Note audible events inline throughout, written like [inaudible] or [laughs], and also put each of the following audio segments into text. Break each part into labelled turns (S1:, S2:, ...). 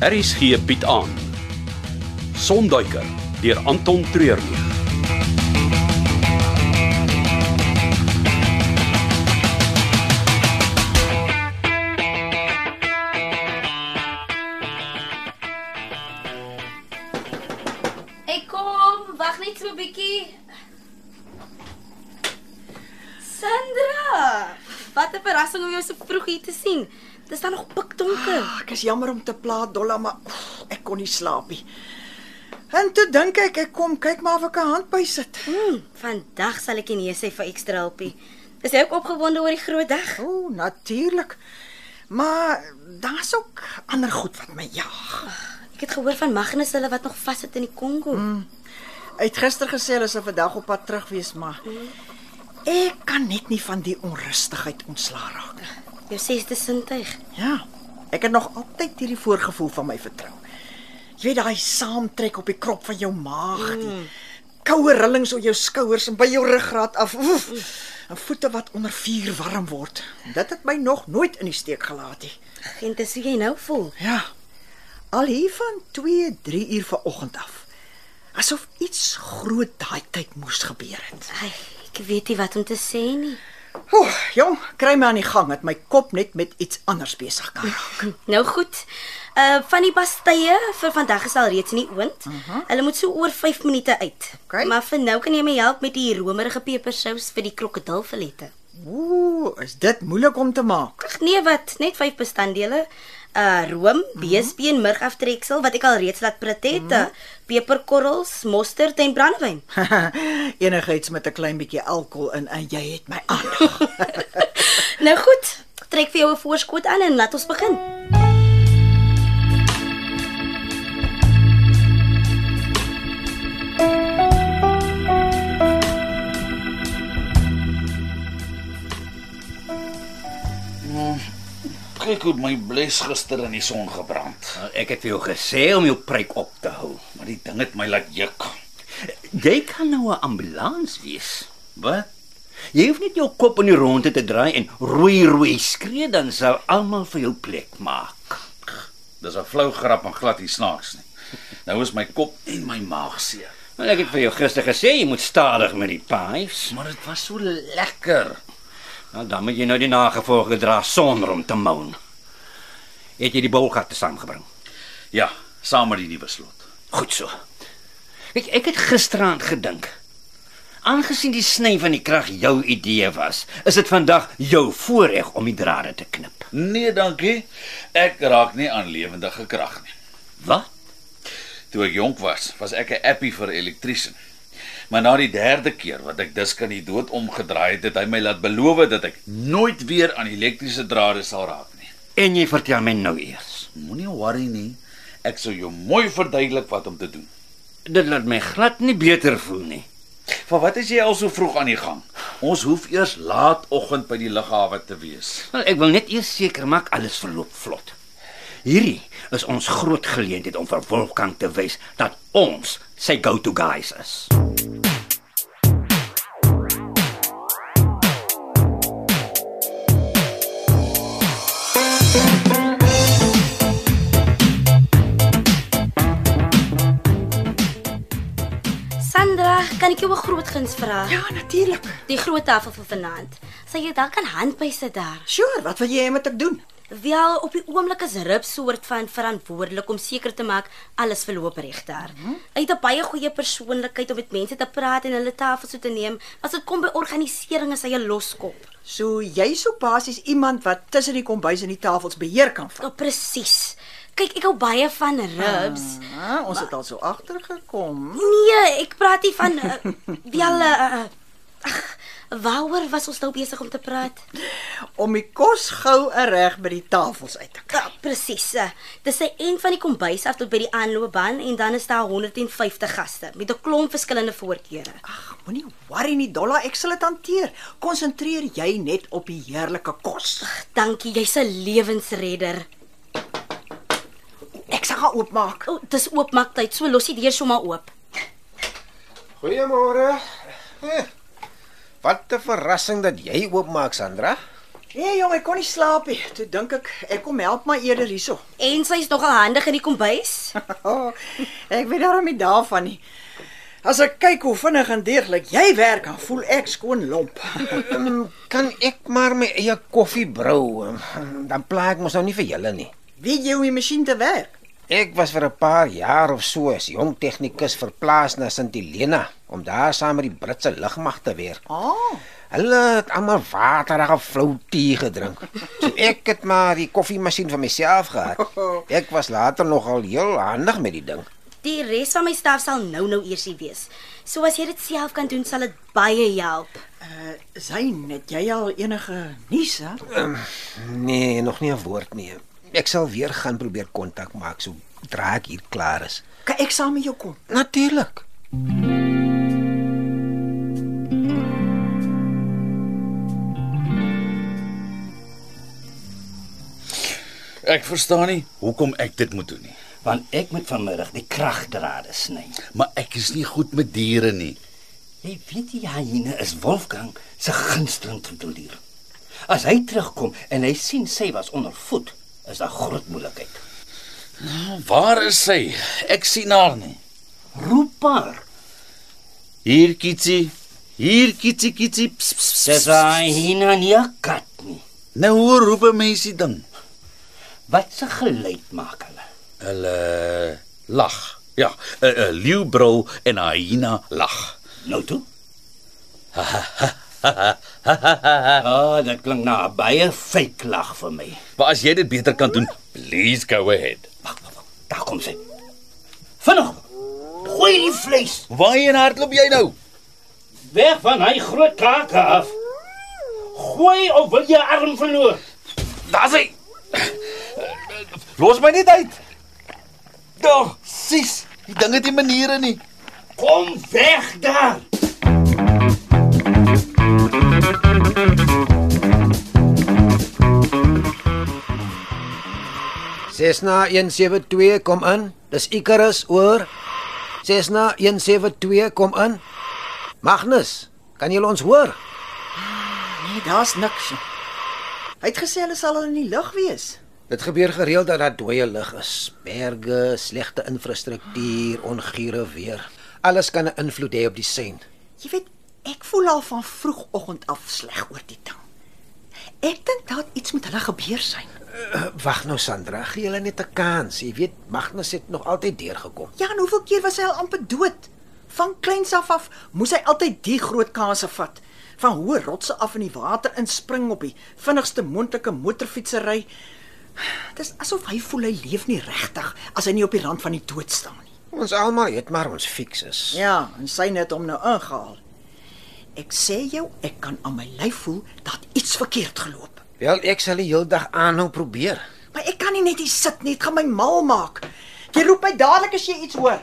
S1: Aries gee bied aan. Sonduiker deur Anton Treurnig.
S2: Ek kom, wag net so 'n bietjie. Sandra, wat 'n verrassing om jou so vroeg hier te sien. Dit is dan nog pikdonker.
S3: Ah, Ek is jammer om te plaat, Dolla, maar oef, ek kon nie slaap nie. En toe dink ek ek kom kyk maar of ek 'n hand by sit.
S2: Hmm, vandag sal ek nie sê vir ekstra hulpie. Is jy ook opgewonde oor die groot dag?
S3: O, natuurlik. Maar daar's ook ander goed wat my jaag.
S2: Ek het gehoor van Magnus hulle wat nog vassit in die Kongo. Mm.
S3: Hy het gister gesê hulle sal vandag op pad terug wees, maar ek kan net nie van die onrustigheid ontslaa raak nie.
S2: Jou sesde sintuig.
S3: Ja. Ek het nog altyd hierdie voorgevoel van my vertrou. Jy weet daai saamtrek op die krop van jou maag, die koue rillings op jou skouers en by jou ruggraat af. Oef, en voete wat onder vuur warm word. Dit het my nog nooit in die steek gelaat nie.
S2: Gent, dis hoe jy nou voel.
S3: Ja. Al hier van 2, 3 uur vanoggend af. Asof iets groot daai tyd moes gebeur het.
S2: Ai, ek weet nie wat om te sê nie.
S3: Oeh, jong, kry my aan die gang, het my kop net met iets anders besig kan raak. [laughs]
S2: Nou goed. Uh van die pastye vir vandag is al reeds in die oond. Uh -huh. Hulle moet so oor 5 minute uit.
S3: Mhm. Oké.
S2: Maar vir nou kan jy my help met die romerige pepersous vir die krokodilfilette.
S3: Ooh, is dit moeilik om te maak?
S2: Ag nee, wat? Net 5 bestanddele. Uh room,
S3: Mhm.
S2: beespeen, murgaftreksel wat ek al reeds laat prit het, uh, peperkorrels, mosterd en brandewyn. [laughs]
S3: [laughs] Enigheids met 'n klein bietjie alkohol in en jy het my aandag.
S2: nou goed. Trek vir jou 'n voorskoot aan en laat ons begin.
S4: Kyk hoe my bles gister in die son gebrand.
S5: Nou, Ek het vir jou gesê om jou pryk op te hou.
S4: Maar die ding het my laat juk.
S5: Jy kan nou 'n ambulans wees. Wat? Jy hoef net jou kop in die ronde te draai en roei roei skree dan sal almal vir jou plek maak.
S4: Dis 'n flou grap en glad nie snaaks nie. Nou is my kop en my maag seer.
S5: Maar ek het vir jou gister gesê jy moet stadig met die pies.
S4: Maar dit was so lekker.
S5: Nou dan moet jy nou die nagevolge dra sonder om te moan. Het jy die bolgat saamgebring?
S4: Ja, saam met die nuwe slot.
S5: Goed so. Kyk, ek het gisteraand gedink. Aangesien die sny van die krag jou idee was, is dit vandag jou voorreg om die drade te knip.
S4: Nee, dankie. Ek raak nie aan lewendige krag nie.
S5: Wat?
S4: Toe ek jonk was, was ek 'n appie vir 'n elektriesien. Maar na die derde keer wat ek dus kan die dood omgedraai het, het hy my laat beloof dat ek nooit weer aan elektriese drade sal raak nie.
S5: En jy vertel my nou eers.
S4: Moenie worry nie. Ek sal jou mooi verduidelik wat om te doen.
S5: Dit laat my glad nie beter voel nie.
S4: Van wat is jy al so vroeg aan die gang? Ons hoef eers laatoggend by die lughawe te wees.
S5: Wel, ek wil net eers seker maak alles verloop vlot. Hierdie is ons groot geleentheid om vir Wolfgang te wys dat ons sy go-to guys is.
S2: Sandra, kan ek jou 'n groot guns vra?
S3: ja, natuurlik.
S2: Die groot tafel vir vanaand. Sal jy dalk kan handby sit daar?
S3: Sure, wat wil jy hê moet ek doen?
S2: Wel, op die oomblik is Rip soort van verantwoordelik om seker te maak alles verloop reg daar. Hy het 'n baie goeie persoonlikheid om met mense te praat en hulle tafels toe te neem, maar as dit kom by organisering is hy 'n loskop.
S3: So jy sou basies iemand wat tussen die kombuis en die tafels beheer kan vat.
S2: Nou presies. Kyk, ek hou baie van Rips.
S3: Ah, ons het al so agtergekom.
S2: Nee, ek praat nie van uh, wel uh, uh, ag, waaroor was ons nou besig om te praat?
S3: Om die kos gou en reg by die tafels uit te kry.
S2: Ja, presies. eh, Dis sy eind van die kombuis af tot by die aanloopbaan en dan is daar 150 gaste met 'n klomp verskillende voorkeure.
S3: Ag, moenie worry nie, Dolla, ek sal dit hanteer. Konsentreer jy net op die heerlike kos.
S2: Dankie, jy's 'n lewensredder.
S3: Ek sal gaan oopmaak.
S2: O, oh, dis oopmaak tyd. So los die deur sommer oop.
S6: Goeiemôre. Eh, Wat 'n verrassing dat jy oopmaak, Sandra.
S3: Nee jong, ek kon nie slaap nie. Toe dink ek, ek kom help my eerder hierso.
S2: En sy is nogal handig in die kombuis.
S3: [laughs] ek weet daarom nie daarvan nie. As ek kyk hoe vinnig en deeglik jy werk, dan voel ek skoon lomp. [laughs]
S6: Kan ek maar my eie koffie brou? Dan pla ek mos nou nie vir julle nie.
S3: Weet jy hoe die masjien te werk?
S6: Ek was vir 'n paar jaar of so as jong tegnikus verplaas na Sint Helena om daar saam met die Britse lugmag te werk.
S3: Ah,
S6: Hulle het almal waterige flou tee gedrink. So ek het maar die koffiemasjien vir myself [laughs] gehad. Ek was later nogal heel handig met die ding.
S2: Die res van my staf sal nou-nou eers hier wees. So as jy dit self kan doen, sal dit baie help.
S3: uh, Zain, het jy al enige nuus? hè?
S6: Nee, nog nie 'n woord nie. Ek sal weer gaan probeer kontak maak so dra ek hier klaar is.
S3: Kan ek saam met jou kom?
S6: Natuurlik.
S4: Ek verstaan nie hoekom ek dit moet doen nie.
S5: want ek moet vanmiddag die kragdrade sny.
S4: Maar ek is nie goed met diere nie.
S5: Jy weet die hyene ja, is Wolfgang se gunsteling troeteldier. As hy terugkom en hy sien sy was onder voet, is daar groot moeilikheid.
S4: Waar is sy? Ek sien haar nie.
S5: Roep haar.
S4: Hier kitsie. Hier kitsie kitsie. Ps, ps, ps,
S5: Dis hy hyena nie 'n kat nie.
S4: Nou hoe roep 'n mens die ding?
S5: Wat se geluid maak hulle?
S4: Hulle lag. Ja, 'n uh, leeubrul en 'n hyena lag.
S5: Nou
S4: [laughs]
S5: toe. Ah, dit klink na 'n baie fake lag vir my.
S4: Maar as jy dit beter kan doen, please go ahead.
S5: Wag, wag, wag. Daar kom sy. Vinnig. Gooi die vleis
S4: Waarheen hardloop jy nou?
S5: weg van hy groot kake af. Gooi of wil jy arm verloor?
S4: Daar's hy. Los my net uit. Dog, sis, die ding het nie maniere nie.
S5: Kom weg daar.
S6: Cessna 172 kom in. Dis Icarus oor. Cessna 172 kom in. Magnus, kan jy ons hoor?
S3: Nee, daar's niks. nie. Hy het gesê hulle sal al in die lug wees.
S6: Dit gebeur gereeld dat daar dooie lug is. Berge, slegte infrastruktuur, ongure weer. Alles kan 'n invloed hê op die sein.
S3: Jy weet, ek voel al van vroegoggend af sleg oor die ding. Ek dink daar het iets met hulle gebeur sein.
S6: Uh, Wag nou Sandra, gee hulle net 'n kans. Jy weet Magnus het nog altyd deurgekom.
S3: Ja, en hoeveel keer was hy al amper dood? Van kleins af af moes hy altyd die groot kanse vat. Van hoë rotse af in die water inspring op die vinnigste moontlike motorfietsery. Dis asof hy voel hy leef nie regtig as hy nie op die rand van die dood staan nie.
S6: Ons almal weet maar ons fiks is.
S3: Ja, en sy net hom nou ingehaal. Ek sê jou, ek kan aan my lyf voel dat iets verkeerd geloop.
S6: Wel, ek sal die hele dag aanhou probeer.
S3: Maar ek kan nie net hier sit nie, dit gaan my mal maak. Jy roep my dadelik as jy iets hoor.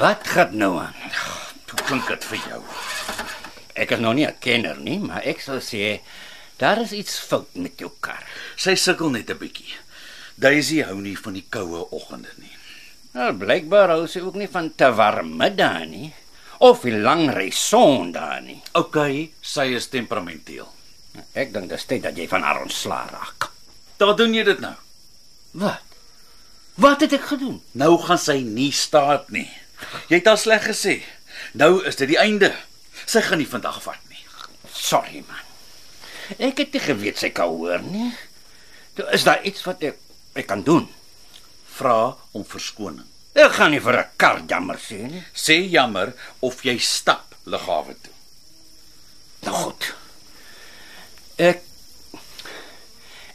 S5: Wat gaan nou aan?
S4: Hoe klink dit vir jou?
S5: Ek is nog nie 'n kenner nie, maar ek sal sê daar is iets fout met jou kar.
S4: Sy sukkel net 'n bietjie. Daisy hou nie van die koue oggende nie.
S5: Nou blykbaar hou sy ook nie van te warm middag nie of die lang reis Sondag nie.
S4: OK, sy is temperamenteel.
S5: Ek dink dis tyd dat jy van haar ontslaa raak.
S4: Daar doen jy dit nou.
S5: Wat? Wat het ek gedoen?
S4: Nou gaan sy nie staat nie. Jy het haar sleg gesê. Nou is dit die einde. Sy gaan nie vandag vat nie.
S5: Sorry man. Ek het nie geweet sy kan hoor nie. Toe is daar iets wat ek ek kan doen.
S4: Vra om verskoning.
S5: Ek gaan nie vir 'n kar jammer sê nie.
S4: Sê jammer of jy stap liggawe toe.
S5: Nou goed. Ek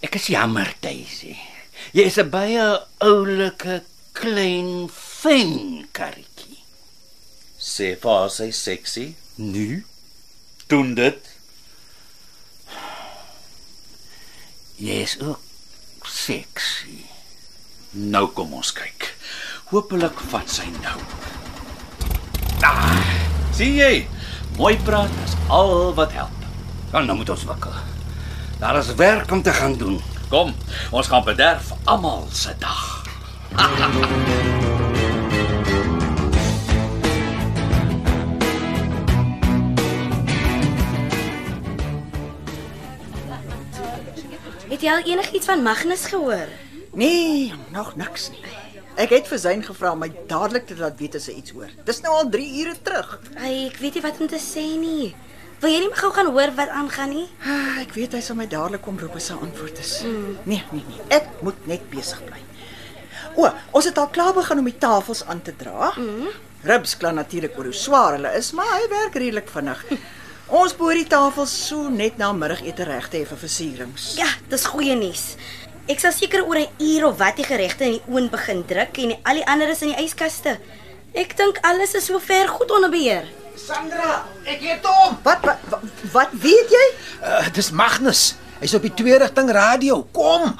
S5: ek is jammer, Daisy. Jy is 'n baie oulike klein fyn karretjie.
S4: Sê vir haar sy sexy.
S5: Nu
S4: Doen dit.
S5: jy is ook sexy.
S4: Nou kom ons kyk. Hoopelik vat sy nou. Ah, sien jy? Mooi praat is al wat help.
S5: Wel, nou moet ons wakkel. Daar is werk om te gaan doen.
S4: Kom, ons gaan bederf almal se dag.
S2: Het jy al enigiets van Magnus gehoor?
S3: Nee, nog niks nie. Ek het vir Zayn gevra om my dadelik te laat weet as hy iets hoor. Dis nou al 3 ure terug.
S2: Ai, ek weet nie wat om te sê nie. Wil jy nie maar gou gaan hoor wat aangaan nie?
S3: Ah, ek weet hy sal my dadelik kom roep as sy antwoord is. Nee, nee, nee. Ek moet net besig bly. O, ons het al klaar begin om die tafels aan te dra. Mm. Ribs kla natuurlik oor hoe swaar hulle is, maar hy werk redelik vinnig. ons behoort die tafels so net na middagete reg te hê vir versierings.
S2: Ja, dis goeie nuus. Ek sal seker oor 'n uur of wat die geregte in die oond begin druk en al die ander is in die yskaste. Ek dink alles is sover goed onder beheer.
S3: Sandra, ek het hom. Wat wat, wat weet jy?
S6: Uh, dis Magnus. Hy's op die twee rigting radio. Kom.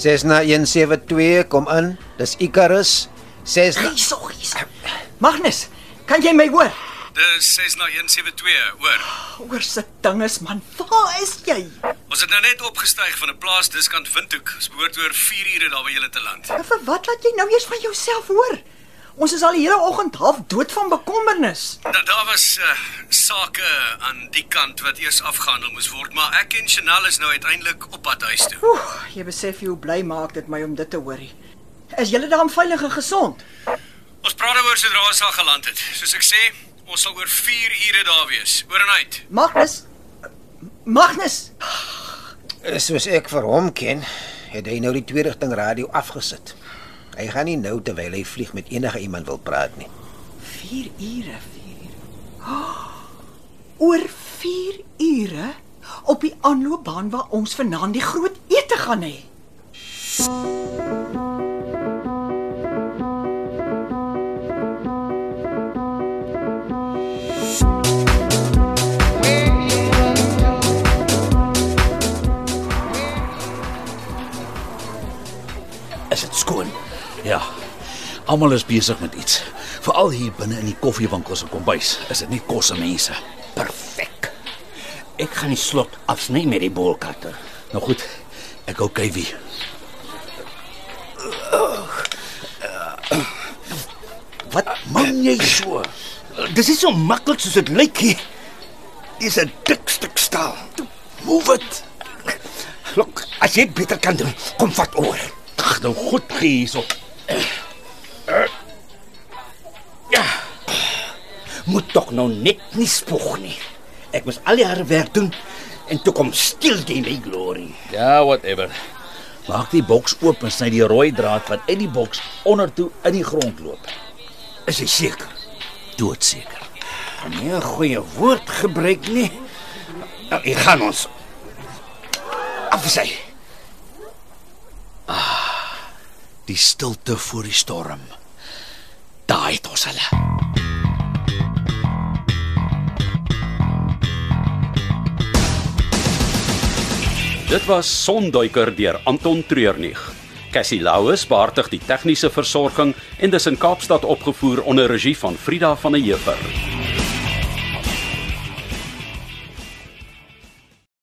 S6: Cessna 172 kom in. Dis Icarus. Cessna
S3: Hysog, hysog. Magnus, kan jy my hoor?
S1: Dis 6 Eh, na 172, hoor.
S3: Oor se dinges man, waar is jy?
S1: Ons het nou net opgestyg van 'n plaas diskant Windhoek. Ons behoort oor 4 ure daar by julle te land.
S3: En vir wat laat jy nou eers van jouself hoor? Ons is al die hele oggend half dood van bekommernis.
S1: Da, daar was uh, sake aan die kant wat eers afgehandel moes word, maar ek en Chanel is nou uiteindelik op pad huis toe.
S3: Oeh, jy besef jy hoe bly maak dit my om dit te hoor. Is julle daarom veilig en gesond?
S1: Ons praat daaroor sodra ons al geland het. Soos ek sê, ons sal oor 4 ure daar wees. Oor en uit.
S3: Magnus Magnus,
S6: Eh, soos ek vir hom ken, het hy nou die twee rigting radio afgesit. Hy gaan nie nou terwyl hy vlieg met enige iemand wil praat nie.
S3: 4 ure, 4 ure. [gasps] Oh, oor 4 ure op die aanloopbaan waar ons vanaand die groot ete gaan hê.
S4: Is dit skoon? Ja. Almal is besig met iets. Veral hier binne in die koffiewinkels en kombuis is dit nie kos en mense.
S5: Perfek. Ek gaan die slot afsny met die bolkatter.
S4: Nou goed. Ek hou kyfie.
S5: Wat?
S4: Man jy so.
S5: Dis is so maklik soos dit lyk hier. Dis 'n dik stuk staal.
S4: Move it.
S5: Look, as jy dit beter kan doen, kom vat oor.
S4: Ag nou goed gee hierop.
S5: Ja. Moet tog nou net nie spoeg nie. Ek moes al die harde werk doen en toe kom stil die my glory.
S4: Ja, whatever. Maak die boks oop en sny die rooi draad wat uit die boks ondertoe in die grond loop.
S5: Is jy seker?
S4: Doodseker.
S5: Kan nie 'n goeie woord gebruik nie. Nou, ek gaan ons afsy.
S4: Ah, Die stilte voor die storm. Daai het ons hulle.
S1: Dit was Sonduiker deur Anton Treurnig. Cassie Louws beheerdig die tegniese versorging en dis in Kaapstad opgevoer onder regie van Frida van der Heever.